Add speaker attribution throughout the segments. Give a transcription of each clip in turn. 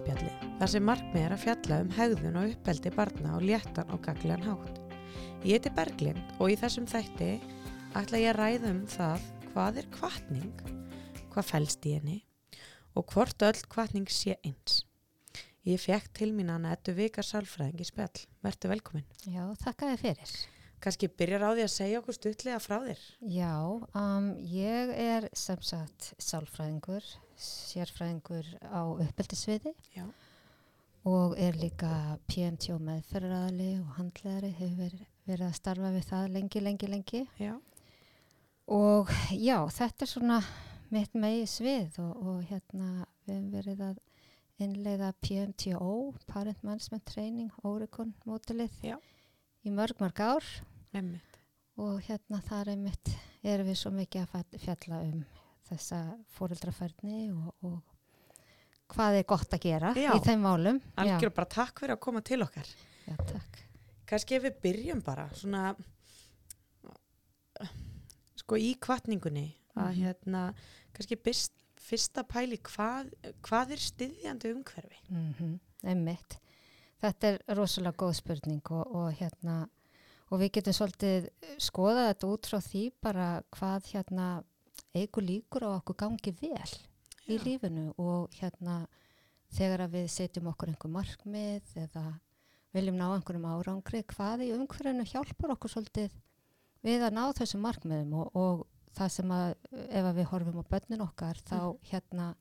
Speaker 1: þar sem markmið er að fjalla um hegðun og uppeldi barna og léttan og gagliðan hátt. Ég heiti Berglind og í þessum þætti ætla ég að ræða um það hvað er kvatning, hvað fælst í henni og hvort öll kvatning sé eins. Ég fekk til mín hana ettu vikar sálfræðing í spjall. Vertu velkomin.
Speaker 2: Já, þakka þið fyrir.
Speaker 1: Kanski byrjar á því að segja okkur stuttlega frá þér.
Speaker 2: Já, um, ég er sem sagt sálfræðingur, sérfræðingur á uppeldisviði
Speaker 1: Já.
Speaker 2: og er líka PMT og meðferðaraðali og handlegari, hefur verið, verið að starfa við það lengi, lengi, lengi.
Speaker 1: Já.
Speaker 2: Og já, þetta er svona mitt megi svið og, og hérna við hefum verið að innleiða PMTO, Parent Management Training, Oricon mótilið
Speaker 1: Já.
Speaker 2: í mörg, mörg ár.
Speaker 1: Emmitt.
Speaker 2: og hérna þar einmitt erum við svo mikið að fa- fjalla um þessa fóreldrafærni og, og hvað er gott að gera
Speaker 1: Já.
Speaker 2: í þeim málum.
Speaker 1: Algjör bara takk fyrir að koma til okkar.
Speaker 2: Já, já, takk.
Speaker 1: Kanski ef við byrjum bara svona sko í kvatningunni að
Speaker 2: Mhm.
Speaker 1: hérna kannski byrst, fyrsta pæli hvað, hvað er styðjandi umhverfi?
Speaker 2: Mm Einmitt. Þetta er rosalega góð spurning og, og hérna og við getum svolítið skoðað þetta út frá því bara hvað hérna eigur líkur á að okkur gangi vel í
Speaker 1: Já.
Speaker 2: lífinu og hérna þegar að við setjum okkur einhver markmið eða viljum ná einhverjum árangri hvað í umhverfinu hjálpar okkur svolítið við að ná þessum markmiðum og, og það sem að ef að við horfum á börnin okkar þá
Speaker 1: Mhm.
Speaker 2: hérna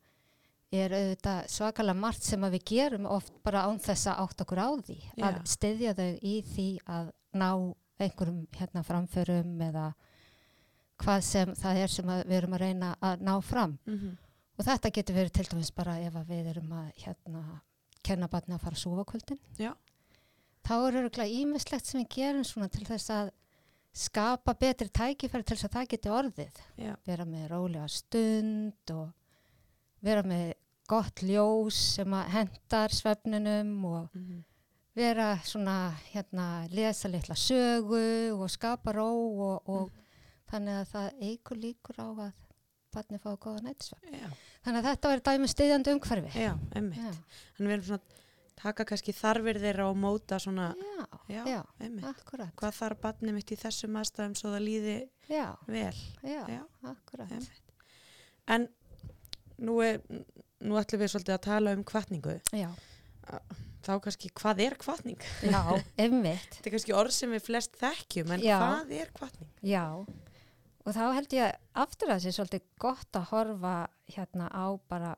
Speaker 2: er auðvitað svakalega margt sem að við gerum oft bara án þess að átt okkur á því að
Speaker 1: Já.
Speaker 2: styðja þau í því að ná einhverjum hérna framförum eða hvað sem það er sem að við erum að reyna að ná fram
Speaker 1: Mm -hmm.
Speaker 2: og þetta getur verið til dæmis bara ef að við erum að hérna kenna barni að fara að súfa á kvöldin
Speaker 1: Já.
Speaker 2: þá er öruglega ímislegt sem við gerum svona til þess að skapa betri tækifæri til þess að það geti orðið
Speaker 1: Já.
Speaker 2: vera með rólega stund og vera með gott ljós sem að hendar svefnunum og
Speaker 1: Mm -hmm.
Speaker 2: vera svona hérna lesa litla sögu og skapa ró og, og
Speaker 1: Mm.
Speaker 2: þannig að það eigur líkur á að barni fá góða nættisvefn
Speaker 1: Já,
Speaker 2: þannig að þetta verður dæmi stiðjandi umhverfi
Speaker 1: já, emmitt.
Speaker 2: já,
Speaker 1: Þannig við erum svona að taka kannski þarfir þeirra og móta svona,
Speaker 2: já,
Speaker 1: já,
Speaker 2: já,
Speaker 1: emmitt.
Speaker 2: akkurat
Speaker 1: Hvað þarf barnið mitt í þessum aðstæðum svo það líði
Speaker 2: já,
Speaker 1: vel?
Speaker 2: já,
Speaker 1: Já.
Speaker 2: akkurat
Speaker 1: Einmitt. En nú, er, nú ætlum við svolítið að tala um kvatningu.
Speaker 2: já,
Speaker 1: Þá kannski hvað er kvatning?
Speaker 2: já, einmitt
Speaker 1: Þetta er kannski orð sem við flest þekkjum, en
Speaker 2: Já.
Speaker 1: hvað er kvartning?
Speaker 2: já, og þá held ég aftur að það sé svolítið gott að horfa hérna á bara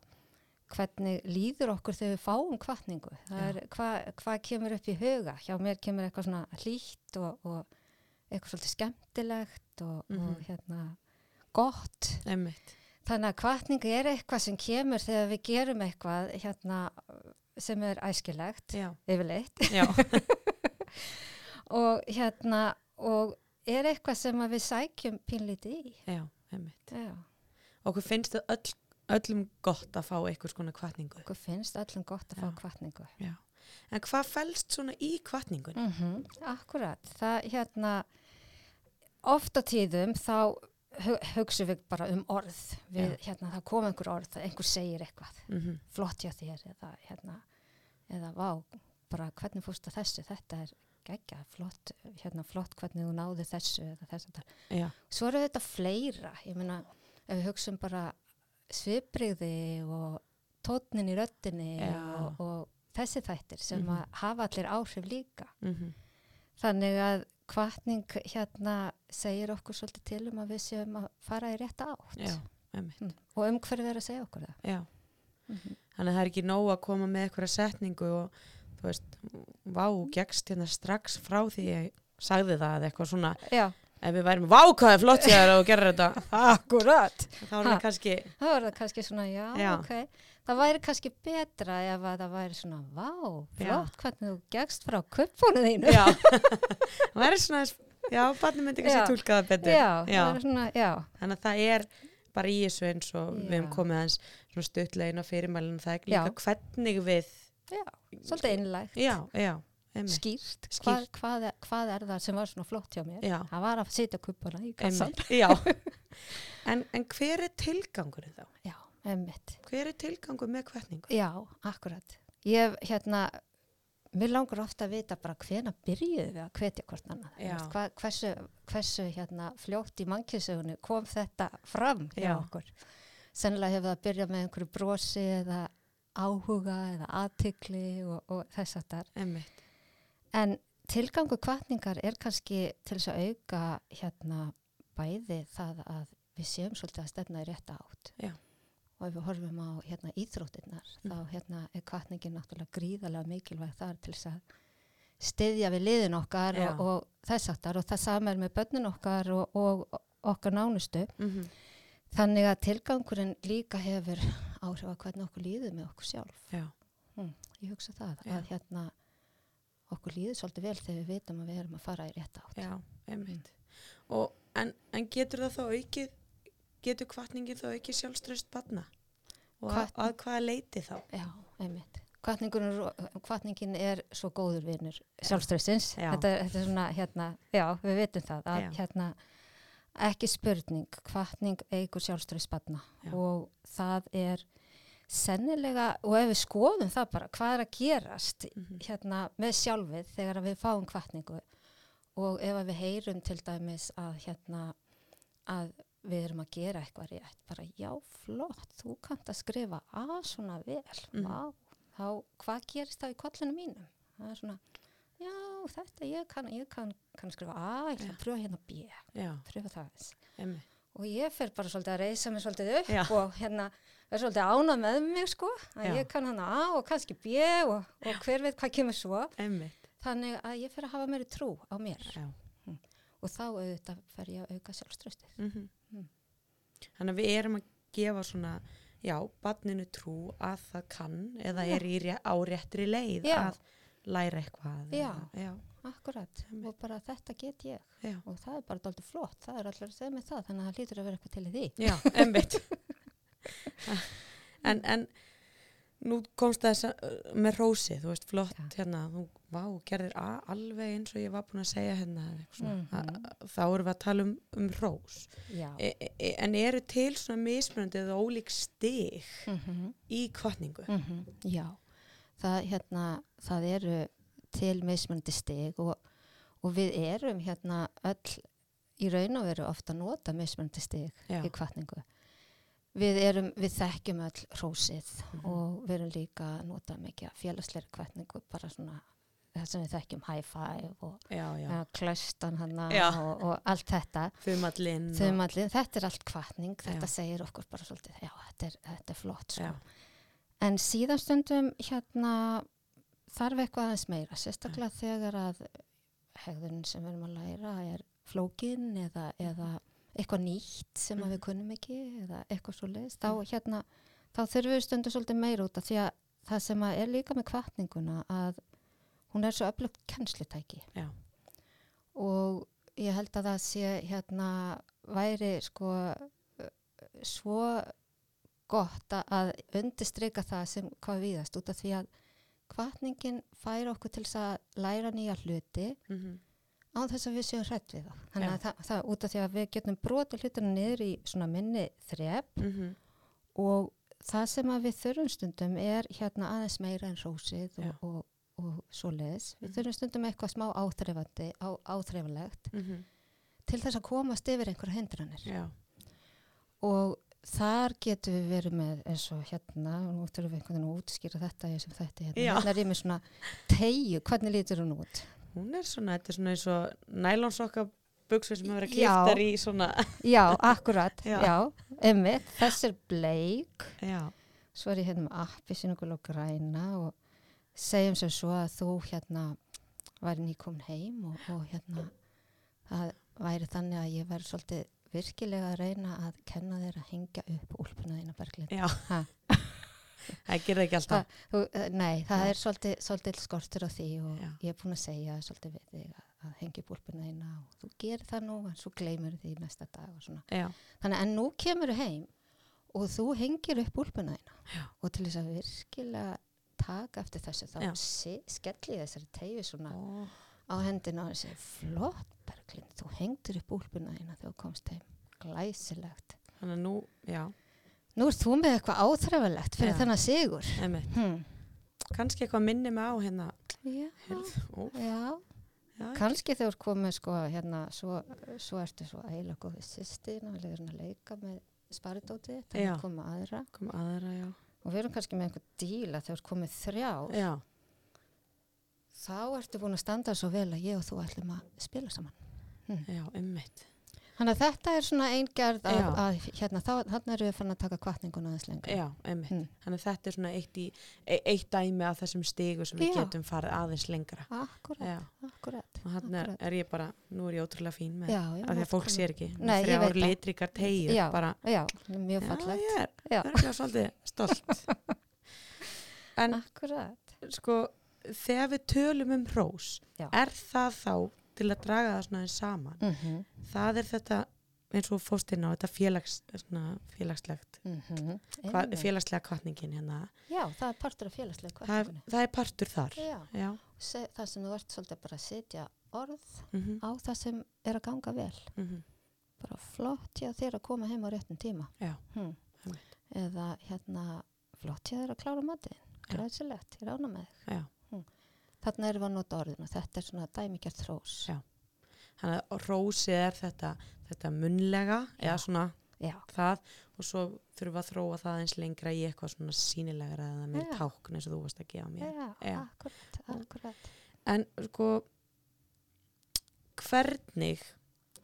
Speaker 2: hvernig líður okkur þegar við fáum kvartningu það
Speaker 1: Já.
Speaker 2: er hvað hva kemur upp í huga hjá mér kemur eitthvað svona hlýtt og, og eitthvað svolítið skemmtilegt og,
Speaker 1: Mhm.
Speaker 2: og hérna gott
Speaker 1: Einmitt.
Speaker 2: Þannig að kvartningu er eitthvað sem kemur þegar við gerum eitthvað hérna, sem er æskilegt,
Speaker 1: Já,
Speaker 2: yfirleitt,
Speaker 1: já,
Speaker 2: og, hérna, og er eitthvað sem að við sækjum pínlítið í.
Speaker 1: já, einmitt.
Speaker 2: Já.
Speaker 1: Okkur finnst það öll, öllum gott að fá einhvers konar kvartningu.
Speaker 2: Okkur finnst öllum gott að
Speaker 1: Já.
Speaker 2: fá kvartningu.
Speaker 1: Já. En hvað fælst svona í kvartningun?
Speaker 2: Mm Akkurat, það hérna, oft á tíðum þá hu- hugsum við bara um orð. Við, hérna, það kom einhver orð, það einhver segir eitthvað,
Speaker 1: Mm -hmm.
Speaker 2: flott hjá þér eða, hérna, eða vá, bara hvernig fórst að þessu, þetta er geggja, flott, hérna, flott hvernig þú náði þessu eða þessu. þetta.
Speaker 1: Já,
Speaker 2: Svo eru þetta fleira, ég meina, ef við hugsaum bara svipriði og tótnin í röttinni
Speaker 1: Já.
Speaker 2: og, og þessi þættir sem
Speaker 1: Mhm.
Speaker 2: að hafa allir áhrif líka.
Speaker 1: mm
Speaker 2: Þannig að hvatning hérna segir okkur svolítið til um að við séum að fara í rétta átt
Speaker 1: já, einmitt. Mhm.
Speaker 2: Mm. og um hverju er að segja okkur það.
Speaker 1: Já.
Speaker 2: Mm -hmm.
Speaker 1: Þannig að það er ekki nóg að koma með einhverja setningu og þú veist, vá, gegst hérna strax frá því ég sagði það eða eitthvað svona,
Speaker 2: Já,
Speaker 1: ef við værim vákaði flott hjá þér og gerir þetta,
Speaker 2: akkurat.
Speaker 1: þá erum
Speaker 2: Ha.
Speaker 1: við kannski,
Speaker 2: Það var það kannski svona, já,
Speaker 1: Já.
Speaker 2: ok. Það væri kannski betra ef að það væri svona, vá, flott hvernig þú gegst frá kuppunum þínu.
Speaker 1: já, það er svona, aðeins- já, barni myndi
Speaker 2: Já.
Speaker 1: kannski tólka það betur.
Speaker 2: það er svona, já,
Speaker 1: þannig að það er bara í þessu eins og við hefum
Speaker 2: Já.
Speaker 1: komið aðeins svona stuttlegin og fyrirmælinu það er
Speaker 2: Já.
Speaker 1: líka hvernig við
Speaker 2: já, svolítið einlægt,
Speaker 1: já, já, einmitt
Speaker 2: skýrt,
Speaker 1: Skýrt.
Speaker 2: Hvað, hvað, er, hvað er það sem var svona flott hjá mér?
Speaker 1: já,
Speaker 2: Það var að sitja kuppuna í kassan.
Speaker 1: einmitt, já. En, en hver er tilgangurinn þá?
Speaker 2: Já, emmitt.
Speaker 1: hver er tilgangur með hverningu?
Speaker 2: Já, akkurat. ég hef, hérna, mér langar ofta að vita bara hvena byrjuðu við að hvetja hvort annað.
Speaker 1: Já.
Speaker 2: Hva, hversu, hversu hérna, fljótt í mannkjössugunni kom þetta fram hjá
Speaker 1: Já.
Speaker 2: okkur. Sennilega hefur það byrjað með einhverju brosi eða áhuga eða aðtikli og, og þess að þar.
Speaker 1: Emmitt.
Speaker 2: En tilgangu kvartningar er kannski til þess að auka hérna bæði það að við séum svolítið að stefna í rétta átt.
Speaker 1: Já.
Speaker 2: Og ef við horfum á hérna, íþróttirnar,
Speaker 1: Mm.
Speaker 2: þá hérna, er kvartningin náttúrulega gríðarlega mikilvæg þar til þess að styðja við liðin okkar
Speaker 1: Já.
Speaker 2: og, og þess aftar og það sama er með börnin okkar og, og okkar nánustu.
Speaker 1: Mm -hmm.
Speaker 2: Þannig að tilgangurinn líka hefur áhrif að hvernig okkur líður með okkur sjálf.
Speaker 1: Já,
Speaker 2: Ég hugsa það
Speaker 1: Já.
Speaker 2: að hérna okkur líður svolítið vel þegar við vitum að við erum að fara í rétt átt.
Speaker 1: já, emmitt.
Speaker 2: Mhm.
Speaker 1: Og en, en getur það þá aukið, getur kvartningin þá aukið sjálfströst batna? Og að,
Speaker 2: Hvatning-
Speaker 1: að hvaða leiti þá?
Speaker 2: Já, einmitt. Kvartningin er svo góður vinur sjálfstressins.
Speaker 1: Já.
Speaker 2: Þetta, er- þetta er svona, hérna, já, við vitum það að
Speaker 1: Já.
Speaker 2: hérna, ekki spurning, kvartning eigur sjálfstressbanna
Speaker 1: Já.
Speaker 2: og það er sennilega, og ef við skoðum það bara, hvað er að gerast
Speaker 1: Mhm.
Speaker 2: hérna, með sjálfið þegar að við fáum kvartningu og ef að við heyrum til dæmis að hérna, að við erum að gera eitthvað rétt bara já flott, þú kannt að skrifa að svona vel
Speaker 1: Mhm.
Speaker 2: mm. þá hvað gerist þá í kollinu mínum það er svona já þetta ég kann, ég kann, kann skrifa að ég ætla að pröfa hérna B,
Speaker 1: Já,
Speaker 2: pröfa það eins
Speaker 1: emmitt.
Speaker 2: og ég fer bara svolítið að reysa mig svolítið upp
Speaker 1: Já.
Speaker 2: og hérna er svolítið ánað með mig sko að
Speaker 1: Já.
Speaker 2: ég kann hana A og kannski B og, og hver veit hvað kemur svo
Speaker 1: Emmitt,
Speaker 2: þannig að ég fer að hafa meiri trú á mér
Speaker 1: já.
Speaker 2: og þá auðvitað fer ég að auka sjálfströstið
Speaker 1: -hmm.
Speaker 2: Mm.
Speaker 1: Þannig að við erum að gefa svona, já, barninu trú að það kann eða
Speaker 2: Já.
Speaker 1: er í ré, á réttri leið
Speaker 2: Já.
Speaker 1: að læra eitthvað. eða-
Speaker 2: Já.
Speaker 1: já,
Speaker 2: Akkurat,
Speaker 1: Einmitt.
Speaker 2: og bara þetta get ég
Speaker 1: Já.
Speaker 2: og það er bara dálítið flott, það er allir að segja mig það þannig að það hlýtur að vera eitthvað til í því
Speaker 1: já, einmitt. en, en nú komst það þess að- með rósi, þú veist, flott hérna, þú, vá, gerðir a- alveg eins og ég var búin að segja hérna, eitthvað svona.
Speaker 2: Mhm.
Speaker 1: Mm Þá erum við að tala um, um rós.
Speaker 2: Já,
Speaker 1: E, e, en eru til svona mismunandi eða ólík stig
Speaker 2: mm -hmm.
Speaker 1: í kvartningu?
Speaker 2: Já. Það, hérna, það eru til mismunandi stig og, og við erum hérna öll í raun og veru ofta að nota mismunandi stig
Speaker 1: Já.
Speaker 2: í kvartningu við, erum, við þekkjum öll hrósið
Speaker 1: Mhm.
Speaker 2: og við erum líka að nota mikið af félagsleiri kvartningu bara svona það sem við þekkjum high five og
Speaker 1: Já, já.
Speaker 2: Já, klöstan hana
Speaker 1: Já.
Speaker 2: og, og allt þetta
Speaker 1: Þumallinn. og-
Speaker 2: þumallið, þetta er allt kvartning þetta
Speaker 1: Já.
Speaker 2: segir okkur bara svolítið já, þetta er, þetta er flott sko.
Speaker 1: Já,
Speaker 2: en síðan stundum hérna þarf eitthvað aðeins meira sérstaklega þegar að hegðun sem við erum að læra er flókin eða, eða eitthvað nýtt sem að við kunnum ekki eða eitthvað svo leist þá, hérna, þá þurfum við stundum svolítið meira út af því að það sem að er líka með kvartninguna að hún er svo öflugt kennslutæki
Speaker 1: já,
Speaker 2: og ég held að það sé hérna væri sko eh, svo gott að- að undirstryka það sem hvað viðast út af því að kvartningin fær okkur til þess að læra nýja hluti
Speaker 1: mm
Speaker 2: á þess að við séum hrætt við þá. Þannig
Speaker 1: Já.
Speaker 2: að það, það út af því að við getum brotið hlutina niður í svona minni þrep
Speaker 1: mhm,
Speaker 2: og það sem að við þurfum stundum er hérna aðeins meira en rósið
Speaker 1: Já.
Speaker 2: og, og, og svoleiðis.
Speaker 1: Mhm.
Speaker 2: Við þurfum stundum eitthvað smá áþreifandi, á, áþreifalegt til þess að komast yfir einhverja hindranir
Speaker 1: mhm. já,
Speaker 2: og þar getum við verið með eins og hérna, nú þurfum við einhvern veginn að útskýra þetta ég sem þetta hérna,
Speaker 1: Já.
Speaker 2: hérna er ég með svona tegju, hvernig lítur hún út
Speaker 1: hún er svona, þetta er svona eins og nælonsokka buksu sem hafa verið
Speaker 2: Já.
Speaker 1: kliftar í svona,
Speaker 2: já, akkurat,
Speaker 1: Já.
Speaker 2: já, einmitt þess er bleik,
Speaker 1: já,
Speaker 2: svo er ég hérna með appi sinugul og græna og segjum sem svo að þú hérna væri nýkomin heim og, og hérna það væri þannig að ég væri svolítið virkilega að reyna að kenna þér að hengja upp úlpuna þína berglind
Speaker 1: já,
Speaker 2: Ha.
Speaker 1: það gerði ekki alltaf,
Speaker 2: Þú, eh, nei, það
Speaker 1: Nei.
Speaker 2: er svolítið, svolítið skortur á því og
Speaker 1: Já.
Speaker 2: ég er búin að segja svolítið við þig að, að hengja upp úlpuna þína og þú gerir það nú en svo gleymur því næsta dag og svona.
Speaker 1: já,
Speaker 2: Þannig en nú kemur þú heim og þú hengir upp úlpuna þína
Speaker 1: Já.
Speaker 2: og til þess að virkilega taka eftir þessu þá
Speaker 1: Já.
Speaker 2: si- skelli ég þessari tegi svona
Speaker 1: Ó,
Speaker 2: á hendina og segi flott Berglind, þú hengdur upp úlpuna þína þegar þú komst heim, glæsilegt.
Speaker 1: þannig að nú, já,
Speaker 2: Nú er þú með eitthvað áþræfalegt fyrir
Speaker 1: Já.
Speaker 2: þennan sigur.
Speaker 1: emitt,
Speaker 2: Hmm.
Speaker 1: kannski eitthvað minni mig á hérna
Speaker 2: Já,
Speaker 1: heyrð, ó,
Speaker 2: já.
Speaker 1: já,
Speaker 2: Kanski þegar þú ert komið sko hérna, svo, svo ertu svo æla góðið sýstin og við erum að leika með sparidótið, þannig
Speaker 1: Já.
Speaker 2: að koma aðra
Speaker 1: kom aðra, já
Speaker 2: og við erum kannski með einhver díl að þegar þú ert komið þrjár,
Speaker 1: já,
Speaker 2: þá ertu búin að standa svo vel að ég og þú ætlum að spila saman.
Speaker 1: já, ummitt
Speaker 2: Þannig að þetta er svona eingerð að,
Speaker 1: Já.
Speaker 2: að hérna, þá, þannig erum við fann að taka kvartninguna aðeins lengur.
Speaker 1: já, ummitt,
Speaker 2: Mm.
Speaker 1: þannig að þetta er svona eitt, í, e- eitt dæmi að þessum stigu sem við
Speaker 2: Já.
Speaker 1: getum farið aðeins lengra
Speaker 2: Akkurat,
Speaker 1: já,
Speaker 2: akkurat.
Speaker 1: og hann er,
Speaker 2: Akkurat.
Speaker 1: er ég bara nú er ég ótrúlega fín með
Speaker 2: Já, já,
Speaker 1: af því að fólk
Speaker 2: nákvæmlega.
Speaker 1: sér ekki Með
Speaker 2: Nei, ég
Speaker 1: þrjár
Speaker 2: veit það.
Speaker 1: litríkar tegjur
Speaker 2: Já.
Speaker 1: bara,
Speaker 2: Já, mjög
Speaker 1: já,
Speaker 2: fallegt.
Speaker 1: ég er,
Speaker 2: Já.
Speaker 1: það er ekki svolítið stolt en
Speaker 2: Akkurat.
Speaker 1: sko, þegar við tölum um hrós
Speaker 2: Já.
Speaker 1: er það þá til að draga það svona aðeins saman
Speaker 2: Mm -hmm.
Speaker 1: það er þetta, eins og fórst inn á þetta félags, svona, félagslegt hva, félagslega kvartningin hérna
Speaker 2: mhm. Já, það er partur af félagslega
Speaker 1: það, er-
Speaker 2: kvartningunni.
Speaker 1: það er partur þar
Speaker 2: Já,
Speaker 1: já,
Speaker 2: se, það sem þú ert svolítið bara að setja orð
Speaker 1: mhm,
Speaker 2: á það sem er að ganga vel.
Speaker 1: mhm,
Speaker 2: Bara flott hjá þér að koma heim á réttum tíma.
Speaker 1: já,
Speaker 2: Hmm.
Speaker 1: Einmitt.
Speaker 2: Eða hérna, flott hjá þér að klára matið.
Speaker 1: Já.
Speaker 2: Græsilegt, ég rána með þig. Hm.
Speaker 1: já
Speaker 2: Þarna erum við að nota orðin og þetta er svona dæmigjart hrós.
Speaker 1: Já. þannig að hrósið er þetta þetta munlega, eða svona
Speaker 2: Já,
Speaker 1: það og svo þurfum við að þróa það eins lengra í eitthvað svona sínilegra eða með
Speaker 2: Já.
Speaker 1: tákn eins og þú varst að gefa mér
Speaker 2: já,
Speaker 1: Já.
Speaker 2: akkurat, akkurat.
Speaker 1: En sko, hvernig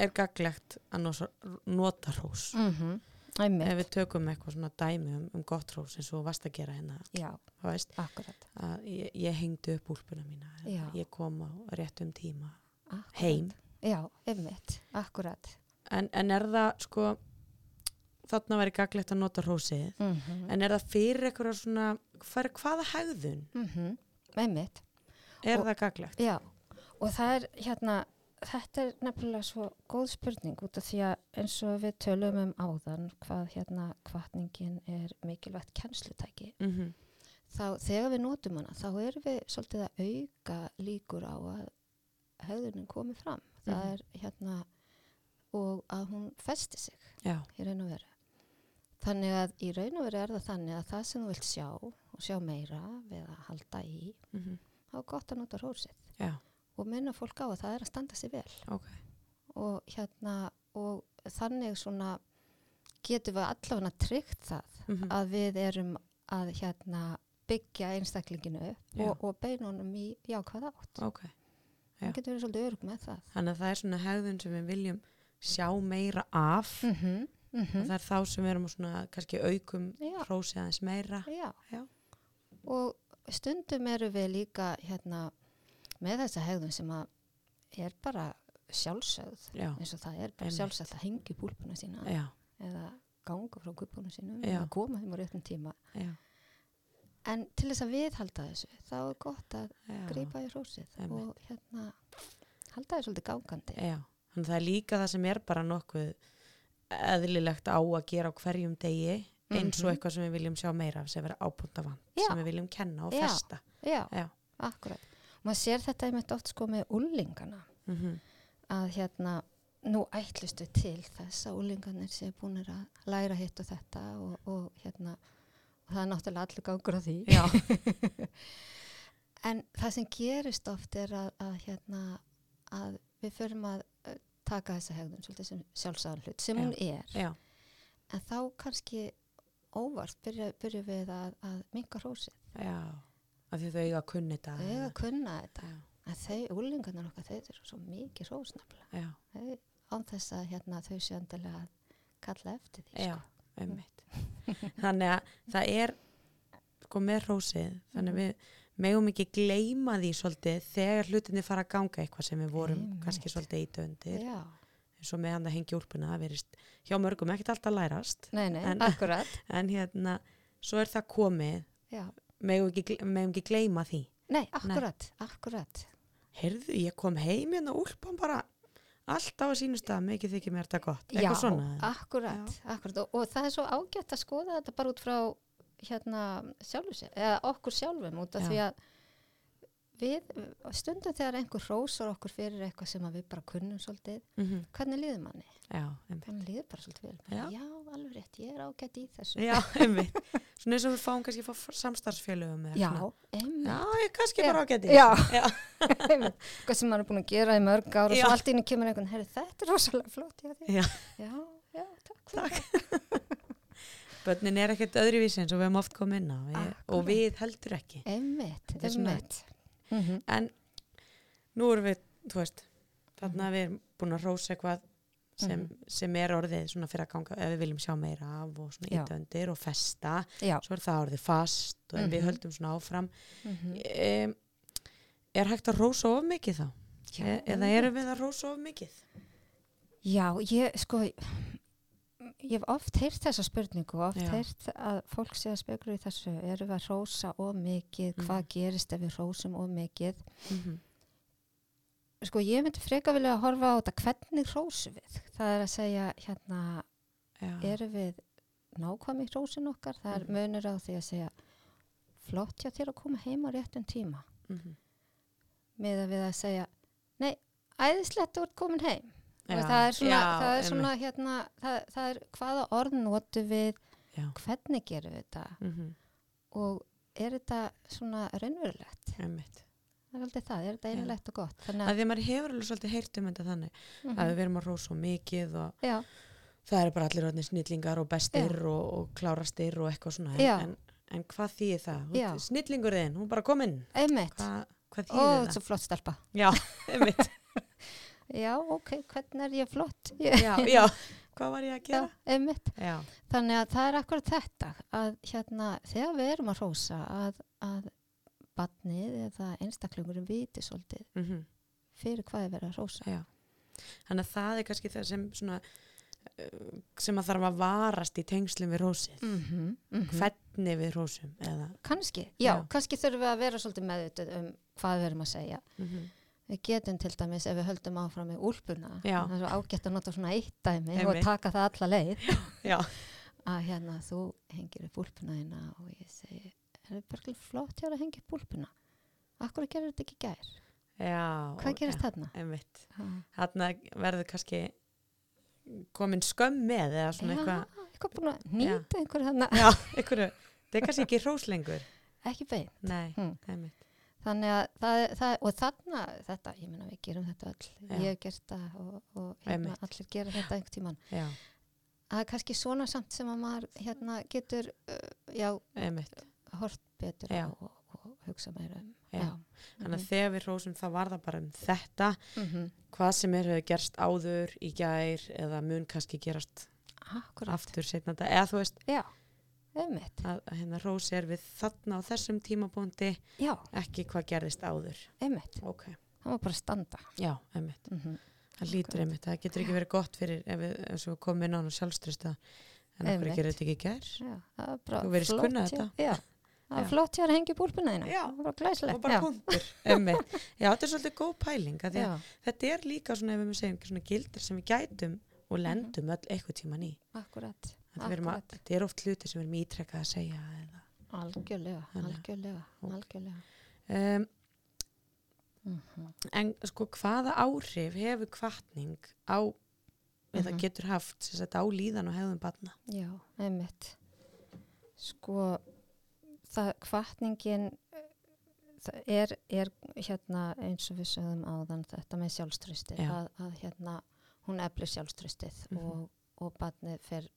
Speaker 1: er gaglegt að nosa, nota hrós?
Speaker 2: Mm -hmm. Æmi,
Speaker 1: Ef við tökum eitthvað svona dæmi um, um gott hrós eins og þú varst að gera hérna,
Speaker 2: já,
Speaker 1: þú veist,
Speaker 2: akkurat,
Speaker 1: að ég, ég hengdi upp úlpuna mína,
Speaker 2: Já.
Speaker 1: ég kom á réttum tíma
Speaker 2: akkurat.
Speaker 1: heim.
Speaker 2: Já, einmitt, akkurat.
Speaker 1: En, en er það, sko, þarna væri gaglegt að nota hrósið,
Speaker 2: Mm -hmm.
Speaker 1: en er það fyrir eitthvað svona, hver, hvaða hegðun
Speaker 2: Mhm. Einmitt,
Speaker 1: er
Speaker 2: Og-
Speaker 1: það gaglegt?
Speaker 2: já. Og það er hérna, þetta er nefnilega svo góð spurning út af því að eins og við tölum um áðan hvað hérna kvartningin er mikilvægt kennslutæki.
Speaker 1: Mm
Speaker 2: Þá þegar við notum hana þá erum við svolítið að auka líkur á að höfðunin komi fram. Það
Speaker 1: Mhm.
Speaker 2: er hérna og að hún festi sig
Speaker 1: Já,
Speaker 2: í raun og veru. Þannig að í raun og veru er það þannig að það sem þú vilt sjá og sjá meira við að halda í
Speaker 1: mm
Speaker 2: þá er gott að nota hrósið
Speaker 1: já,
Speaker 2: og minna fólk á að það er að standa sér vel
Speaker 1: ok.
Speaker 2: og hérna og þannig svona getum við allavega tryggt það
Speaker 1: Mm -hmm.
Speaker 2: að við erum að hérna byggja einstaklinginu upp
Speaker 1: Já.
Speaker 2: og, og beina honum í jákvæð átt.
Speaker 1: Ok. já.
Speaker 2: Það getur verið svolítið örug með það.
Speaker 1: Þannig að það er svona hegðun sem við viljum sjá meira af
Speaker 2: Mm -hmm. Mm
Speaker 1: og það er þá sem við erum að svona kannski aukum
Speaker 2: Já.
Speaker 1: hrósið aðeins meira.
Speaker 2: Já.
Speaker 1: Já.
Speaker 2: Og stundum eru við líka hérna með þessa hegðun sem að er bara sjálfsögð
Speaker 1: Já,
Speaker 2: eins og það er bara
Speaker 1: Einmitt.
Speaker 2: sjálfsagt að hengja búlpuna sína
Speaker 1: já,
Speaker 2: eða ganga frá gubbuna sínum
Speaker 1: Já.
Speaker 2: eða koma þeim á réttum tíma.
Speaker 1: já.
Speaker 2: En til þess að viðhalda þessu þá er gott að
Speaker 1: já.
Speaker 2: grípa í hrósið
Speaker 1: Einmitt.
Speaker 2: og hérna halda þessu svolítið gangandi.
Speaker 1: Já, þannig að það er líka það sem er bara nokkuð eðlilegt á að gera á hverjum degi eins og
Speaker 2: Mhm.
Speaker 1: eitthvað sem við viljum sjá meira af sem vera ábúnda vant,
Speaker 2: Já.
Speaker 1: sem við viljum kenna og
Speaker 2: Já.
Speaker 1: festa.
Speaker 2: Já,
Speaker 1: E- Já.
Speaker 2: akkurat. Maður sér þetta einmitt oft sko með úlingana.
Speaker 1: Mm
Speaker 2: að hérna nú ætlustu til þess að úlingarnir séu búinir að læra hitt og þetta og, og hérna og það er náttúrulega allur gangur á því
Speaker 1: Já,
Speaker 2: en það sem gerist oft er að, að hérna að við förum að eh, taka þessa hegðun svolítið sem sjálfsagðan hlut sem
Speaker 1: Já.
Speaker 2: hún er
Speaker 1: já,
Speaker 2: en þá kannski óvart byrja, byrja við að, að minka hrósið
Speaker 1: já. Af því þau eiga að kunni þetta.
Speaker 2: þau eiga að kunna þetta
Speaker 1: Já,
Speaker 2: en þau úlingarnir okkar þau eru svo mikið hrósnafla
Speaker 1: já,
Speaker 2: þau án þess að hérna þau séu endilega að kalla eftir því sko.
Speaker 1: já, ummitt. þannig að það er sko með hrósið, þannig að við megum ekki gleyma því svolítið þegar hlutinni fara að ganga eitthvað sem við vorum
Speaker 2: Einmitt.
Speaker 1: kannski svolítið eitt
Speaker 2: sko.
Speaker 1: undir,
Speaker 2: já
Speaker 1: eins og með hann að hengja úlpuna, það verist hjá mörgum ekkert alltaf að lærast,
Speaker 2: Nei, nei,
Speaker 1: En-
Speaker 2: akkurat.
Speaker 1: en hérna, svo er það komið,
Speaker 2: Já.
Speaker 1: megum ekki, gle- megum ekki gleyma því.
Speaker 2: Nei, akkurat, akkurat.
Speaker 1: Heyrðu, ég kom heim hérna úlpan bara alltaf á sínu stað, mikið þykir mér þetta gott,
Speaker 2: Já,
Speaker 1: eitthvað svona.
Speaker 2: Akkurat, akkurat. Og, og það er svo ágætt að skoða þetta bara út frá hérna sjálfum sér, eða okkur sjálfum út af
Speaker 1: Já.
Speaker 2: því að við, stundum þegar einhver hrósar okkur fyrir eitthvað sem að við bara kunnum svolítið,
Speaker 1: Mm -hmm.
Speaker 2: hvernig líður manni?
Speaker 1: já, einmitt.
Speaker 2: Þannig líður bara svolítið vel.
Speaker 1: Já.
Speaker 2: Bara, já, alveg rétt, ég er ágætt í þessu.
Speaker 1: Já, einmitt. Svona eins og við fáum kannski frá samstarfsfélögum eða
Speaker 2: Já,
Speaker 1: svona.
Speaker 2: einmitt.
Speaker 1: Já, ég kannski
Speaker 2: Já.
Speaker 1: bara ágæti.
Speaker 2: Já,
Speaker 1: Já.
Speaker 2: einmitt. Hvað sem maður er búin að gera í mörg ára og
Speaker 1: Já.
Speaker 2: svo allt í inni kemur einhvern, herri, þetta er rosalega flott. Já,
Speaker 1: Já.
Speaker 2: já, já takk. fyrir það."
Speaker 1: Bönnin er ekkert öðruvísi eins og við hefum oft komið inn á við,
Speaker 2: Akkurat.
Speaker 1: og við heldur ekki.
Speaker 2: Einmitt,
Speaker 1: Þetta er svona-
Speaker 2: einmitt. Mm -hmm.
Speaker 1: En nú erum við, þú veist, þarna
Speaker 2: Mhm.
Speaker 1: við erum búin að rósa eitthvað sem, sem er orðið svona fyrir að ganga ef við viljum sjá meira af og svona
Speaker 2: Já.
Speaker 1: ítöndir og festa.
Speaker 2: Já.
Speaker 1: Svo er það orðið fast og mm við
Speaker 2: Mhm.
Speaker 1: höldum svona áfram.
Speaker 2: Mm
Speaker 1: Um, er hægt að rósa of mikið þá?
Speaker 2: já.
Speaker 1: E eða erum við að rósa of mikið?
Speaker 2: Já, ég sko ég hef oft heyrt þessa spurningu og oft
Speaker 1: Já.
Speaker 2: heyrt að fólk sé að spekla í þessu erum við að rósa of mikið
Speaker 1: Mm.
Speaker 2: hvað gerist ef við rósum of mikið
Speaker 1: Mm
Speaker 2: Mhm. sko ég myndi freka vilja að horfa á þetta hvernig rósum við það er að segja hérna
Speaker 1: Já.
Speaker 2: erum við nákvæm í rósin okkar það er
Speaker 1: Mhm.
Speaker 2: munur á því að segja flott hjá þér að koma heim á réttum tíma
Speaker 1: Mhm.
Speaker 2: með að við að segja nei, æðislegt að þú ert komin heim Já,
Speaker 1: Já.
Speaker 2: það er svona,
Speaker 1: Já,
Speaker 2: það er
Speaker 1: einmitt.
Speaker 2: svona hérna, það, það er hvaða orð notum við,
Speaker 1: Já.
Speaker 2: hvernig gerum við þetta
Speaker 1: Mhm,
Speaker 2: og er þetta svona raunverulegt?
Speaker 1: einmitt.
Speaker 2: Það er aldrei það, er þetta
Speaker 1: Já.
Speaker 2: einulegt og gott? Þannig
Speaker 1: að því að maður hefur alveg svolítið heyrt um þetta þannig
Speaker 2: mhm,
Speaker 1: að við verum að rósa of mikið og
Speaker 2: já,
Speaker 1: það eru bara allir orðnir snillingar og bestir og, og klárastir og eitthvað svona
Speaker 2: Já.
Speaker 1: en, en, en hvað þýðir það? Þú
Speaker 2: Já.
Speaker 1: veist, Snillingur þinn, hún er bara komin
Speaker 2: einmitt.
Speaker 1: Hva, hvað
Speaker 2: Ó,
Speaker 1: þýðir
Speaker 2: þetta
Speaker 1: það?
Speaker 2: er flott stelpa.
Speaker 1: Já, einmitt
Speaker 2: Já, ok, hvernig er ég flott? Ég,
Speaker 1: já, já. Hvað var ég að
Speaker 2: já,
Speaker 1: gera?
Speaker 2: einmitt.
Speaker 1: Já,
Speaker 2: Þannig að það er akkurat þetta að hérna, þegar við erum að rósa að, að badnið eða einstaklingurinn viti svolítið
Speaker 1: mhm
Speaker 2: fyrir hvað er verið að rósa.
Speaker 1: Já. Þannig að það er kannski það sem svona, uh, sem að þarf að varast í tengslum við rósið.
Speaker 2: Mm -hmm, mm
Speaker 1: Hvernig við rósum eða.
Speaker 2: Kanski, já,
Speaker 1: mhm. Já.
Speaker 2: kannski þurfum við að vera svolítið meðvitað um hvað við erum að segja.
Speaker 1: Mm
Speaker 2: Við getum til dæmis ef við höldum áfram í úlpuna,
Speaker 1: Já.
Speaker 2: það er svo ágætt að nota svona eitt dæmi og
Speaker 1: Einmitt.
Speaker 2: taka það alla leið,
Speaker 1: Já.
Speaker 2: að hérna þú hengir upp úlpuna þína og ég segi, er það bara flott hjá þér að hengja upp úlpuna? Akkur gerir þetta ekki í gær?
Speaker 1: Já.
Speaker 2: Hvað gerist þarna?
Speaker 1: Einmitt.
Speaker 2: Ha,
Speaker 1: Þarna verður kannski komin skömm með eða svona
Speaker 2: Já,
Speaker 1: eitthvað.
Speaker 2: eitthvað búin að nýta einhverju þarna,
Speaker 1: Já, einhverju. Það er kannski ekki rós lengur.
Speaker 2: ekki bein.
Speaker 1: Nei,
Speaker 2: Hmm.
Speaker 1: einmitt.
Speaker 2: Þannig að það, það, og þarna, þetta, ég meina við gerum þetta öll,
Speaker 1: Já.
Speaker 2: ég hef gert það og, og hérna,
Speaker 1: Einmitt.
Speaker 2: allir gera þetta einhvern tíman.
Speaker 1: Já,
Speaker 2: það er kannski svona samt sem að maður hérna getur uh, já,
Speaker 1: einmitt.
Speaker 2: hort betur
Speaker 1: Já.
Speaker 2: og, og, og hugsa meira um
Speaker 1: Já. Þannig að þegar við rósum það var það bara um þetta.
Speaker 2: mm -hmm.
Speaker 1: Hvað sem er hefur gerst áður í gær eða mun kannski gerast
Speaker 2: akkurat,
Speaker 1: aftur setna þetta. Eða þú veist,
Speaker 2: já einmitt,
Speaker 1: að að hérna rósi er við þarna á þessum tímabúndi
Speaker 2: já,
Speaker 1: ekki hvað gerðist áður
Speaker 2: einmitt
Speaker 1: ok,
Speaker 2: það var bara að standa
Speaker 1: já, einmitt,
Speaker 2: mm -hmm.
Speaker 1: það lítur
Speaker 2: Akkurat.
Speaker 1: einmitt það getur ekki verið gott fyrir ef við, ef við komum inn á hann sjálfstrista en okkur
Speaker 2: Einmitt.
Speaker 1: gerir þetta ekki í gær
Speaker 2: já, það var bara
Speaker 1: Þú virðist
Speaker 2: flott
Speaker 1: kunna
Speaker 2: hjá-
Speaker 1: þetta.
Speaker 2: já, það var
Speaker 1: Já.
Speaker 2: flott hjá að hengja búlpuna þína
Speaker 1: Já.
Speaker 2: það var bara glæsilegt
Speaker 1: og bara
Speaker 2: já.
Speaker 1: punktur, einmitt já, þetta er svolítið góð pæling að að
Speaker 2: já,
Speaker 1: þetta er líka svona ef við segjum svona gildir sem við gætum og lendum öll eitthvað tíman í
Speaker 2: akkurat,
Speaker 1: Þetta við erum að-
Speaker 2: akkurat.
Speaker 1: þetta er oft hluti sem við erum ítrekkað að segja eða.
Speaker 2: algjörlega
Speaker 1: Þannig að-
Speaker 2: algjörlega,
Speaker 1: Ok.
Speaker 2: algjörlega
Speaker 1: um,
Speaker 2: mm
Speaker 1: en sko hvaða áhrif hefur kvartning á eða
Speaker 2: Mhm.
Speaker 1: getur haft sem sagt, á líðan og hefðum batna
Speaker 2: Já, einmitt. Sko, það kvartningin það er, er hérna eins og við sögum áðan þetta með sjálfströstið,
Speaker 1: Já.
Speaker 2: að, að hérna hún eflir sjálfströstið
Speaker 1: Mhm.
Speaker 2: og, og barnið fer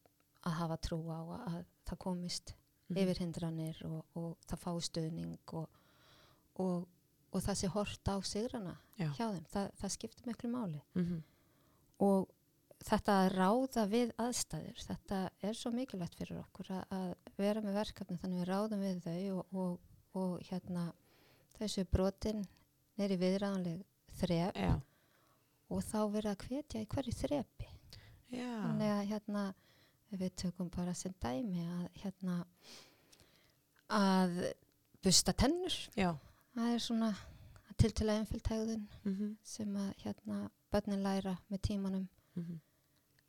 Speaker 2: að hafa trú á að, að það komist
Speaker 1: Mhm.
Speaker 2: yfir hindranir og, og það fái stöðning og, og, og það sé hort á sigrana
Speaker 1: Já.
Speaker 2: hjá þeim. Það, það skiptir miklu máli
Speaker 1: Mhm.
Speaker 2: og þetta að ráða við aðstæður, þetta er svo mikilvægt fyrir okkur að, að vera með verkefni þannig við ráðum við þau og, og, og hérna þessu brotin er í viðræðanleg þrep
Speaker 1: Já,
Speaker 2: og þá verið að hvetja í hverju þrepi.
Speaker 1: já,
Speaker 2: Þannig að hérna ef við tökum bara sem dæmi að hérna að busta tennur,
Speaker 1: já,
Speaker 2: það er svona til til að einfjöldhægðun
Speaker 1: mhm,
Speaker 2: sem að hérna börnin læra með tímanum
Speaker 1: mhm,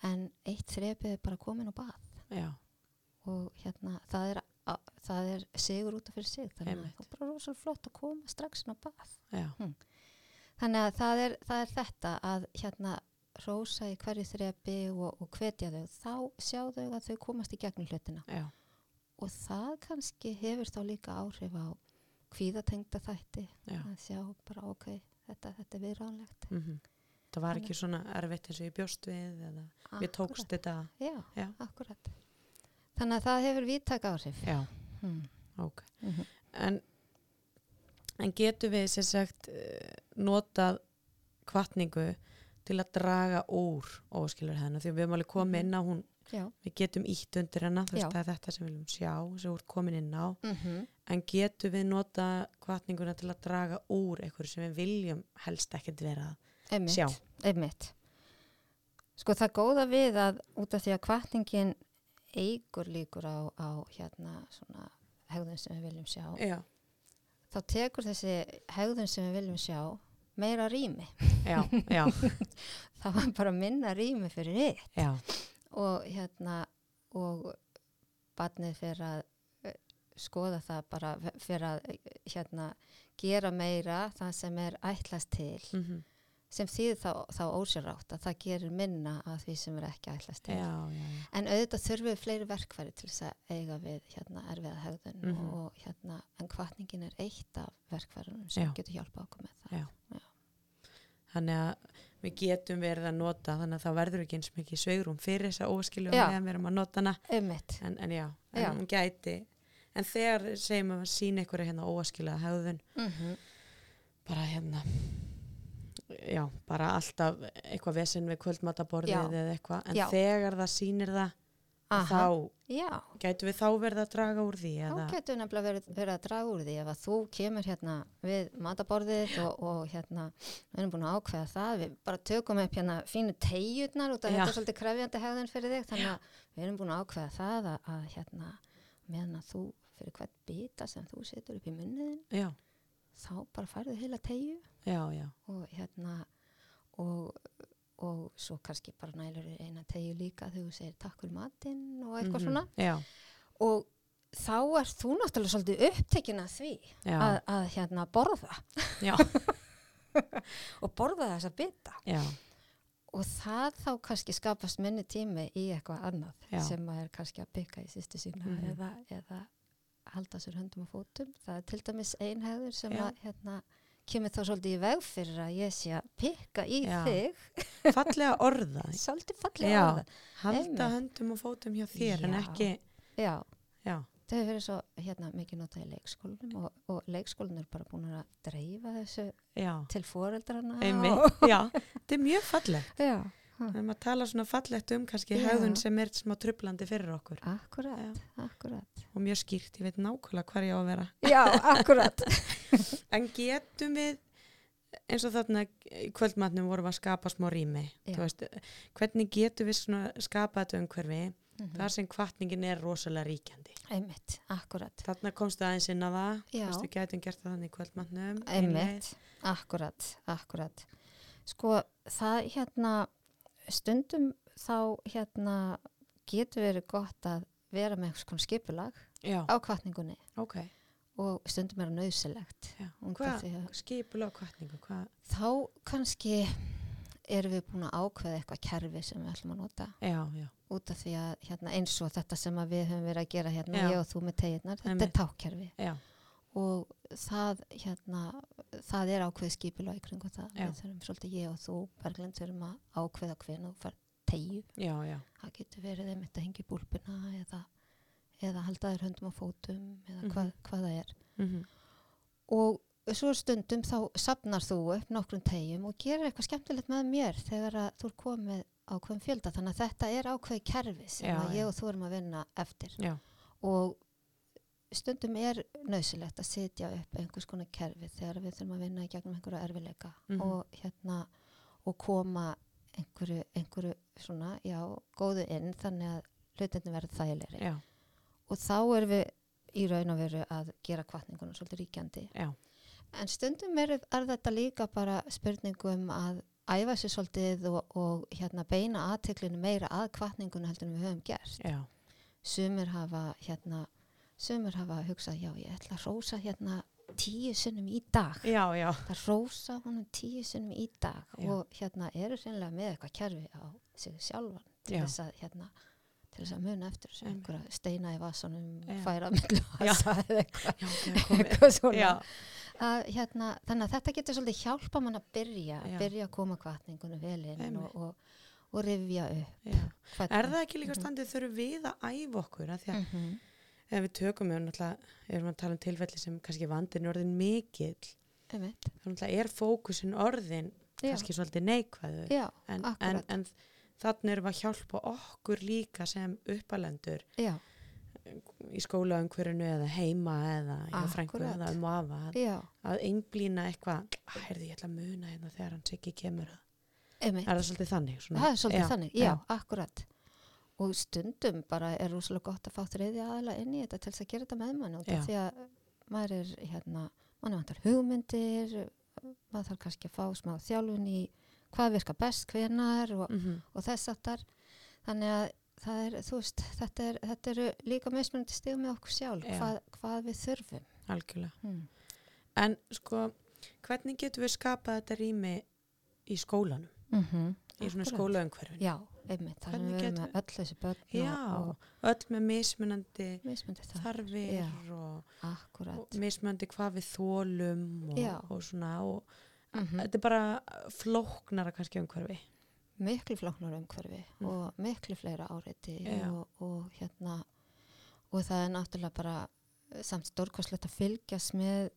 Speaker 2: en eitt þrepið er bara komin á bað
Speaker 1: já,
Speaker 2: og hérna það er, a- það er sigur út af fyrir sig þannig að
Speaker 1: Einmitt.
Speaker 2: það er bara rosalega flott að koma strax inn á bað Hm.
Speaker 1: já,
Speaker 2: þannig að það er, það er þetta að hérna rósa í hverju þrepi og, og hvetja þau, þá sjá þau að þau komast í gegnum hlutina
Speaker 1: já,
Speaker 2: og það kannski hefur þá líka áhrif á kvíðatengda þætti
Speaker 1: já.
Speaker 2: að sjá bara ok, þetta, þetta er viðránlegt
Speaker 1: Mm Það var ekki svona erfitt eins og ég bjóst við eða við tókst þetta.
Speaker 2: Já,
Speaker 1: Já.
Speaker 2: akkurat. Þannig að það hefur víðtak áhrif.
Speaker 1: Já,
Speaker 2: Hmm.
Speaker 1: ok.
Speaker 2: Mm
Speaker 1: En, en getum við sér sagt eh, notað kvartningu til að draga úr óskilur hennar því að við erum alveg komin inn á hún
Speaker 2: Já.
Speaker 1: við getum ítt undir hennar þú
Speaker 2: Mhm. Já.
Speaker 1: veist það er þetta sem við viljum sjá sem við erum komin inn á
Speaker 2: Mm
Speaker 1: en getum við notað kvartninguna til að draga úr eitthvað sem við viljum helst ekkert vera að
Speaker 2: Einmitt.
Speaker 1: sjá
Speaker 2: Einmitt. Sko það góða við að út af því að kvartningin eigur líkur á, á hérna svona hegðun sem við viljum sjá,
Speaker 1: Já,
Speaker 2: þá tekur þessi hegðun sem við viljum sjá meira rými.
Speaker 1: já, já,
Speaker 2: Það var bara minna rými fyrir þið.
Speaker 1: já,
Speaker 2: og hérna og barnið fyrir að eh, skoða það bara fyrir að eh, hérna gera meira það sem er ætlast til
Speaker 1: mm
Speaker 2: sem þýð þá, þá ósjárátt að það gerir minna að því sem er ekki ætlast til
Speaker 1: já, já, já.
Speaker 2: en auðvitað þurfum við fleiri verkfæri til þess að eiga við hérna erfiða hegðun
Speaker 1: Mhm.
Speaker 2: og hérna en hvatningin er eitt af verkfærunum sem
Speaker 1: Já.
Speaker 2: getur hjálpa okkur með það
Speaker 1: Já. þannig að við getum verið að nota þannig að það verður ekki eins mikið sveigrum fyrir þessa óskilur
Speaker 2: Já.
Speaker 1: meðan við erum að nota hana
Speaker 2: ummitt,
Speaker 1: en, en já, en
Speaker 2: Já.
Speaker 1: hún gæti en þegar segjum við að sína ykkur hérna óaskilega hegðun
Speaker 2: mm -hmm.
Speaker 1: bara hérna já, bara alltaf eitthvað vesen við kvöldmataborðið
Speaker 2: Já.
Speaker 1: eða eitthvað en
Speaker 2: Já.
Speaker 1: þegar það sýnir það þá
Speaker 2: já
Speaker 1: gætum við þá verið að draga úr því
Speaker 2: Þá
Speaker 1: eða,
Speaker 2: getur nefnilega verið, verið að draga úr því ef að þú kemur hérna við mataborðið og, og hérna, við erum búin að ákveða það, við bara tökum upp hérna fínu tegjurnar út af
Speaker 1: Já.
Speaker 2: þetta er svolítið krefjandi hegðun fyrir þig, þannig að við erum búin að ákveða það að, að hérna, meðan að þú fyrir hvert bita sem þú setur upp í munniðin,
Speaker 1: já,
Speaker 2: þá bara færðu heila tegju
Speaker 1: já, já,
Speaker 2: og hérna, og og svo kannski bara nælur eina tegju líka þegar þú segir takk fyrir matinn og
Speaker 1: Mhm.
Speaker 2: eitthvað svona
Speaker 1: já,
Speaker 2: og þá er þú náttúrulega svolítið upptekin að því
Speaker 1: já,
Speaker 2: að, að hérna borða
Speaker 1: já,
Speaker 2: og borða þessa bita
Speaker 1: já,
Speaker 2: og það þá kannski skapast minni tími í eitthvað annað
Speaker 1: Já.
Speaker 2: sem maður er kannski að bygga í sýstu sína
Speaker 1: Mhm.
Speaker 2: eða, eða halda sér höndum og fótum það er til dæmis einhæður sem
Speaker 1: Já.
Speaker 2: að hérna kemur þá svolítið í veg fyrir að ég sé að pikka í
Speaker 1: Já.
Speaker 2: þig
Speaker 1: fallega orða
Speaker 2: svolítið fallega
Speaker 1: Já.
Speaker 2: orða
Speaker 1: halda
Speaker 2: Einmitt.
Speaker 1: höndum og fótum hjá þér en
Speaker 2: Já.
Speaker 1: ekki,
Speaker 2: Já,
Speaker 1: já,
Speaker 2: þau hefur verið svo hérna, mikið notað í leikskólanum og, og leikskólanum er bara búin að dreifa þessu
Speaker 1: já
Speaker 2: til foreldrana og,
Speaker 1: einmitt, já, þetta er mjög fallegt
Speaker 2: já,
Speaker 1: við erum að tala svona fallegt um kannski
Speaker 2: Já.
Speaker 1: hegðun sem er smá trublandi fyrir okkur
Speaker 2: akkurat,
Speaker 1: Já.
Speaker 2: akkurat
Speaker 1: og mjög skýrt, ég veit nákvæmlega hvar ég á að vera
Speaker 2: já, akkurat
Speaker 1: en getum við eins og þarna í kvöldmatnum vorum við að skapa smá rými
Speaker 2: Já.
Speaker 1: Þú veist, hvernig getum við svona skapa þetta umhverfi
Speaker 2: Mm.
Speaker 1: þar sem kvartningin er rosalega ríkjandi
Speaker 2: Mhm, einmitt, akkurat
Speaker 1: þarna komstu aðeins inn á það
Speaker 2: Já.
Speaker 1: Þú veist, við getum gert það þannig í kvöldmatnum
Speaker 2: einmitt, akkurat, akkurat sko, það hérna stundum þá hérna getur verið gott að vera með einhvers konar skipulag
Speaker 1: já,
Speaker 2: á kvartningunni
Speaker 1: ok,
Speaker 2: og stundum er það nöðsilegt
Speaker 1: já.
Speaker 2: Út
Speaker 1: hvað
Speaker 2: af því að-
Speaker 1: skipulega kvartningu, hvað
Speaker 2: þá kannski erum við búin að ákveða eitthvað kerfi sem við ætlum að nota
Speaker 1: já, já,
Speaker 2: út af því að hérna, eins og þetta sem að við höfum verið að gera hérna,
Speaker 1: Já.
Speaker 2: ég og þú með teginnar, þetta
Speaker 1: Einmitt.
Speaker 2: er tákkerfi
Speaker 1: já,
Speaker 2: og það, hérna, það er ákveð skipilag í kringum það.
Speaker 1: Já.
Speaker 2: Við þurfum svolítið ég og þú, Berglind, þurfum að ákveða hvernig þú fær tegju.
Speaker 1: já, já,
Speaker 2: Það getur verið einmitt að hengja í búlpuna eða, eða halda þér höndum á fótum eða
Speaker 1: Mhm.
Speaker 2: hvað, hvað það er.
Speaker 1: mm
Speaker 2: Og svo stundum þá sapnar þú upp nokkrum tegjum og gerir eitthvað skemmtilegt með mér þegar að þú er komið ákveðum fjölda. Þannig að þetta er ákveði kerfi sem
Speaker 1: Já,
Speaker 2: að
Speaker 1: já.
Speaker 2: ég og þú erum að vinna eftir.
Speaker 1: já
Speaker 2: og stundum er nöðsilegt að sitja upp einhvers konar kerfi þegar við þurfum að vinna í gegnum einhverja erfileika
Speaker 1: Mhm.
Speaker 2: og hérna og koma einhverju, einhverju svona, já, góðu inn þannig að hlutinni verður þægilegri
Speaker 1: já,
Speaker 2: og þá erum við í raun og veru að gera kvartningunum svolítið ríkjandi
Speaker 1: já,
Speaker 2: en stundum er, er þetta líka bara spurningum að æfa sér svolítið og, og hérna beina aðteklinu meira að kvartningunum heldur en við höfum gert
Speaker 1: já,
Speaker 2: sumir hafa hérna sumir hafa hugsað, já ég ætla að rósa hérna tíu sinnum í dag
Speaker 1: já, já,
Speaker 2: það rósa honum tíu sinnum í dag
Speaker 1: Já.
Speaker 2: og hérna eru sennlega með eitthvað kerfi á sig sjálfan til
Speaker 1: Já.
Speaker 2: þess að hérna til þess að muna eftir þessu
Speaker 1: Einmitt.
Speaker 2: einhverja steina í vasanum,
Speaker 1: Já.
Speaker 2: færa millu vasa eða eitthvað,
Speaker 1: já, ok, komið.
Speaker 2: eitthvað svona
Speaker 1: já,
Speaker 2: að, hérna, þannig að þetta getur svolítið hjálpa mann að byrja,
Speaker 1: Já.
Speaker 2: byrja að koma kvartningunum vel inn
Speaker 1: Einmitt.
Speaker 2: og, og, og rifja upp
Speaker 1: já.
Speaker 2: hvað
Speaker 1: Er það ekki líka standið þurfum við að æfa okkur að því að
Speaker 2: -hmm.
Speaker 1: ef við tökum við náttúrulega, ef við tala um tilfelli sem kannski vandin er orðin mikill
Speaker 2: einmitt,
Speaker 1: þá náttúrulega er fókusin orðin
Speaker 2: Já.
Speaker 1: kannski svolítið neikvæður
Speaker 2: já,
Speaker 1: en, en,
Speaker 2: akkurat
Speaker 1: en þannig erum við að hjálpa okkur líka sem uppalendur
Speaker 2: já,
Speaker 1: í skólaumhverjunu eða heima eða hjá
Speaker 2: Akkúrat.
Speaker 1: frængu eða um afa að,
Speaker 2: já,
Speaker 1: að einblýna eitthvað, að herði ég ætla að muna hérna þegar hann siggi kemur að
Speaker 2: einmitt
Speaker 1: er það svolítið þannig? Svona?
Speaker 2: það er svolítið
Speaker 1: já,
Speaker 2: þannig, já,
Speaker 1: já.
Speaker 2: akkurat og stundum bara er rúslega gott að fá þriði aðla inn í þetta til þess að gera þetta með mann út
Speaker 1: Já.
Speaker 2: af því að maður er hérna, mann vantar hugmyndir maður þarf kannski að fá smá þjálfun í hvað virkar best hvenar og,
Speaker 1: Mm
Speaker 2: og þess aftar þannig að það er, þú veist, þetta, er, þetta eru líka mismunandi stigum með okkur sjálf
Speaker 1: Já.
Speaker 2: hvað, hvað við þurfum
Speaker 1: Algjörlega.
Speaker 2: hmm.
Speaker 1: En sko, hvernig getum við skapað þetta rými í skólanum?
Speaker 2: mm -hmm.
Speaker 1: Í svona skólaumhverfinu?
Speaker 2: já, einmitt, það er
Speaker 1: Hvernig
Speaker 2: við erum
Speaker 1: getum-
Speaker 2: með öll þessi börn
Speaker 1: Já,
Speaker 2: og,
Speaker 1: öll með mismunandi
Speaker 2: og mismunandi það,
Speaker 1: þarfir
Speaker 2: Já.
Speaker 1: og,
Speaker 2: akkurat
Speaker 1: og mismunandi hvað við þólum og,
Speaker 2: Já.
Speaker 1: og svona og
Speaker 2: Mhm.
Speaker 1: þetta er bara flóknara kannski umhverfi.
Speaker 2: miklu flóknar umhverfi
Speaker 1: Mm.
Speaker 2: og miklu fleira áreiti
Speaker 1: Já.
Speaker 2: og, og hérna og það er náttúrulega bara eh, samt stórkostlegt að fylgjast með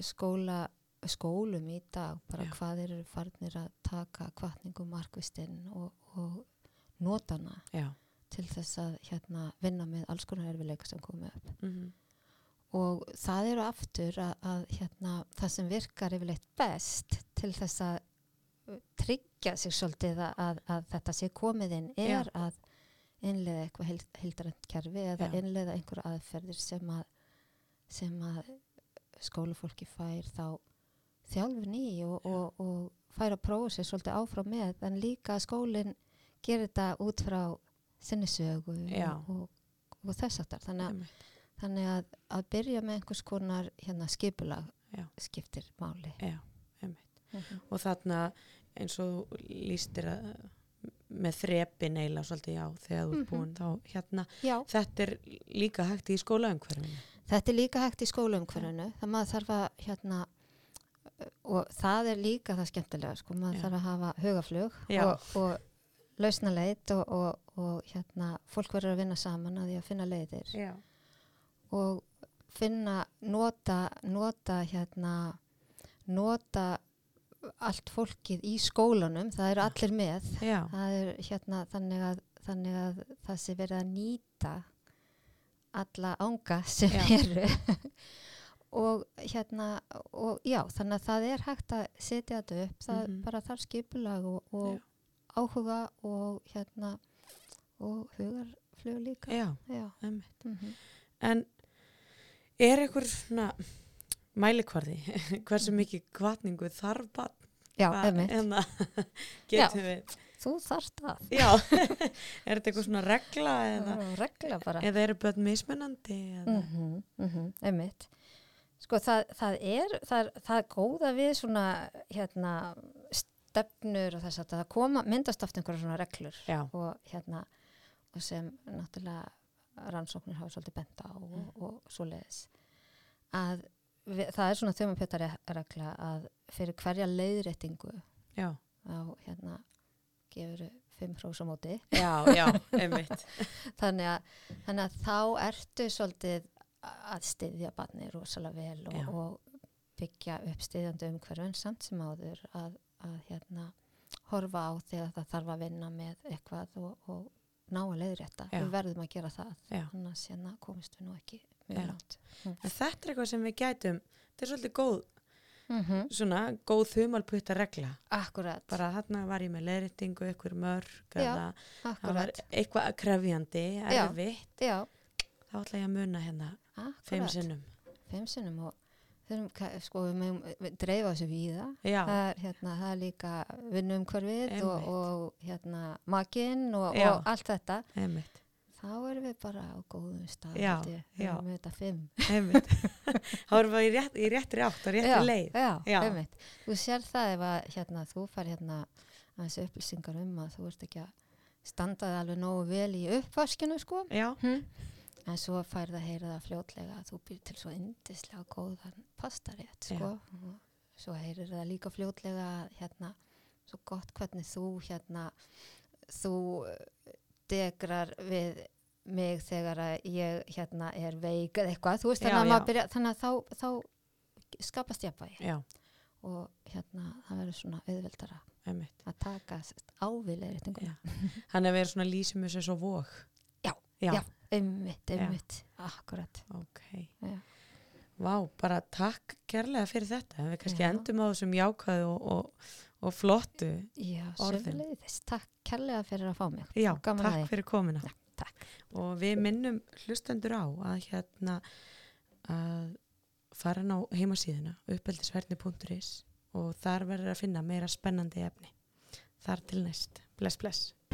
Speaker 2: skóla, skólum í dag bara
Speaker 1: Já.
Speaker 2: hvað þeir eru farnir að taka kvartningu markvistinn og, og notana
Speaker 1: Já.
Speaker 2: til þess að hérna vinna með alls konar erfileika sem komi upp
Speaker 1: Mm
Speaker 2: og það eru aftur að, að hérna, það sem virkar yfirleitt best til þess að uh, tryggja sig svolítið að, að, að þetta sé komið inn er að innleiða eitthvað heild, heildarænt kerfi eða
Speaker 1: Já.
Speaker 2: innleiða einhverja aðferðir sem að, sem að skólafólki fær þá þjálfun í og,
Speaker 1: Já.
Speaker 2: og, og fær að prófa sér svolítið áfram með en líka að skólinn gerir þetta út frá sinni sögu
Speaker 1: Já.
Speaker 2: og, og, og þess aftar þannig að Þannig að, að byrja með einhvers konar hérna, skipulag
Speaker 1: Já.
Speaker 2: skiptir máli. Mhm.
Speaker 1: Já, einmitt. Og þarna eins og þú lístir að með þrepin eila svolítið já þegar þú ert
Speaker 2: Mhm.
Speaker 1: búin þá hérna
Speaker 2: Já,
Speaker 1: þetta er líka hægt í skólaumhverfinu.
Speaker 2: þetta er líka hægt í skólaumhverfinu. Það maður þarf að, hérna, og það er líka það skemmtilega, sko, maður
Speaker 1: Já.
Speaker 2: þarf að hafa hugaflug
Speaker 1: Já.
Speaker 2: og, og lausna leitt og, og, og hérna, fólk verður að vinna saman að því að finna leiðir
Speaker 1: Já.
Speaker 2: og finna, nota, nota, hérna, nota allt fólkið í skólanum, það eru
Speaker 1: Já.
Speaker 2: allir með
Speaker 1: Já,
Speaker 2: það er hérna þannig að, þannig að það sé verið að nýta alla ánga sem
Speaker 1: Já.
Speaker 2: eru og hérna og já, þannig að það er hægt að setja þetta upp, það
Speaker 1: Mhm.
Speaker 2: bara þarf skipulag og, og
Speaker 1: Já.
Speaker 2: áhuga og hérna og hugarflug líka
Speaker 1: já,
Speaker 2: já,
Speaker 1: einmitt.
Speaker 2: mm
Speaker 1: En er einhver svona mælikvarði, hversu mikið kvatningu þarf bann?
Speaker 2: já einmitt,
Speaker 1: En hérna, getum við,
Speaker 2: þú þarft að
Speaker 1: já, er þetta eitthvað svona regla eða,
Speaker 2: Það er regla bara
Speaker 1: eða eru börn mismunandi eða,
Speaker 2: mhm, mhm, einmitt sko það, það er það, er- það er góða við svona hérna stefnur og þess að það koma, myndast oft einhverja svona reglur
Speaker 1: já,
Speaker 2: og hérna og sem náttúrulega rannsóknir hafa svolítið benda á og,
Speaker 1: Mm.
Speaker 2: og svoleiðis að við, það er svona þjómapjötari regla að fyrir hverja leiðréttingu
Speaker 1: já,
Speaker 2: á hérna gefur fimm hrós á móti
Speaker 1: já, já, einmitt,
Speaker 2: þannig að, þannig að þá ertu svolítið að styðja barni rosalega vel
Speaker 1: Já.
Speaker 2: og, og byggja upp styðjandi umhverfun samt sem áður að, að hérna, horfa á þegar það þarf að vinna með eitthvað og, og ná að leiðrétta.
Speaker 1: Já.
Speaker 2: Við verðum að gera það,
Speaker 1: já.
Speaker 2: annars hérna komist við nú ekki
Speaker 1: Já.
Speaker 2: mjög langt.
Speaker 1: En þetta er eitthvað sem við gætum, þetta er svolítið góð,
Speaker 2: Mm -hmm.
Speaker 1: svona, góð þumalputta regla.
Speaker 2: Akkurat,
Speaker 1: Bara þarna var ég með leiðréttingu, eitthvað mörg
Speaker 2: Já,
Speaker 1: eða það var
Speaker 2: akkurat,
Speaker 1: eitthvað krefjandi,
Speaker 2: Já.
Speaker 1: erfitt,
Speaker 2: já,
Speaker 1: þá ætla ég að muna hérna fimm
Speaker 2: akkurat,
Speaker 1: sinnum.
Speaker 2: fimm sinnum og þurfum, ka- sko, við meðum við dreifa þessu víða
Speaker 1: Já,
Speaker 2: það er, hérna, það er líka vinnumhverfið og,
Speaker 1: Einmitt.
Speaker 2: og hérna, makinn og,
Speaker 1: Já.
Speaker 2: og allt þetta
Speaker 1: einmitt.
Speaker 2: Þa- þá erum við bara á góðum stað
Speaker 1: Já,
Speaker 2: held ég.
Speaker 1: já.
Speaker 2: við erum með þetta fimm
Speaker 1: einmitt þá erum við í, rétt, í réttri átt og réttri leið
Speaker 2: já,
Speaker 1: Já.
Speaker 2: einmitt. þú sér það ef að hérna, þú fær hérna aðeins upplýsingar um að þú ert ekki að standaði alveg nógu vel í uppvaskinu sko
Speaker 1: já,
Speaker 2: hm. en svo fær það heyra það fljótlega að þú býr til svo yndislega góðan pastarétt sko Og svo heyrir það líka fljótlega að, hérna svo gott hvernig þú hérna þú eh, degrar við mig þegar að ég hérna er veik eða eitthvað, þú veist
Speaker 1: Já,
Speaker 2: þannig að,
Speaker 1: já.
Speaker 2: maður byrja, þannig að þá, þá skapast jafnvægi
Speaker 1: já,
Speaker 2: og hérna það verður svona auðveldara
Speaker 1: einmitt
Speaker 2: að taka ávilegri tingum.
Speaker 1: Já. hann er verið svona lýsum þessu svo vók
Speaker 2: Já,
Speaker 1: já,
Speaker 2: já. Einmitt,
Speaker 1: Já.
Speaker 2: einmitt, akkurat.
Speaker 1: ok
Speaker 2: Já.
Speaker 1: Vá, bara takk kærlega fyrir þetta við kannski
Speaker 2: Já.
Speaker 1: endum á þessum jákvæðu og, og, og flottu
Speaker 2: Já,
Speaker 1: Orðin.
Speaker 2: sömuleiðis. Takk kærlega fyrir að fá mig.
Speaker 1: já,
Speaker 2: Gaman að
Speaker 1: takk
Speaker 2: því.
Speaker 1: fyrir komina
Speaker 2: Já, takk.
Speaker 1: og við minnum hlustendur á að hérna að fara inn á heimasíðuna uppeldisverðni.is og þar verður að finna meira spennandi efni þar til næst, bless bless